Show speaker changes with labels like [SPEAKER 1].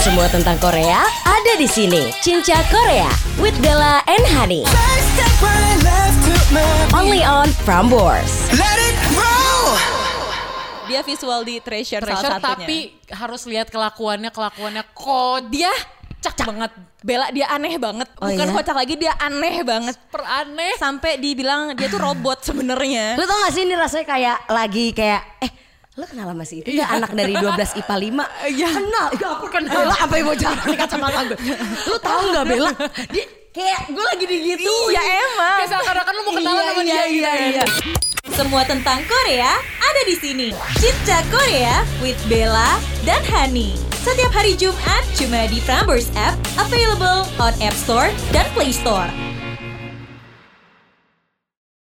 [SPEAKER 1] Semua tentang Korea ada di sini. Cinca Korea with Bella and Hani.
[SPEAKER 2] First step right, left to my
[SPEAKER 1] Only on Prambors.
[SPEAKER 2] Let it roll.
[SPEAKER 3] Dia visual di Treasure,
[SPEAKER 4] pressure
[SPEAKER 3] salah satunya.
[SPEAKER 4] tapi harus lihat kelakuannya kelakuannya kok dia cak, banget
[SPEAKER 3] Bella dia aneh banget.
[SPEAKER 1] Oh,
[SPEAKER 3] Bukan
[SPEAKER 1] iya?
[SPEAKER 3] kocak lagi dia aneh banget.
[SPEAKER 4] peraneh
[SPEAKER 3] Sampai dibilang dia tuh robot sebenarnya.
[SPEAKER 1] Lu tau gak sih ini rasanya kayak lagi kayak eh lu kenal sama si itu ya anak dari 12 IPA 5
[SPEAKER 3] Iya.
[SPEAKER 1] kenal ya aku kenal lah apa yang mau jalan di kacamata gue lu tau gak Bella dia kayak gue lagi digitu
[SPEAKER 3] Iya emang.
[SPEAKER 4] kayak seakan-akan lu mau kenalan
[SPEAKER 1] Iya,
[SPEAKER 4] sama dia
[SPEAKER 1] iya,
[SPEAKER 4] gitu
[SPEAKER 1] iya,
[SPEAKER 4] ya.
[SPEAKER 1] iya.
[SPEAKER 3] Semua tentang Korea ada di sini. Cinta Korea with Bella dan Hani. Setiap hari Jumat cuma di Prambors App, available on App Store dan Play Store.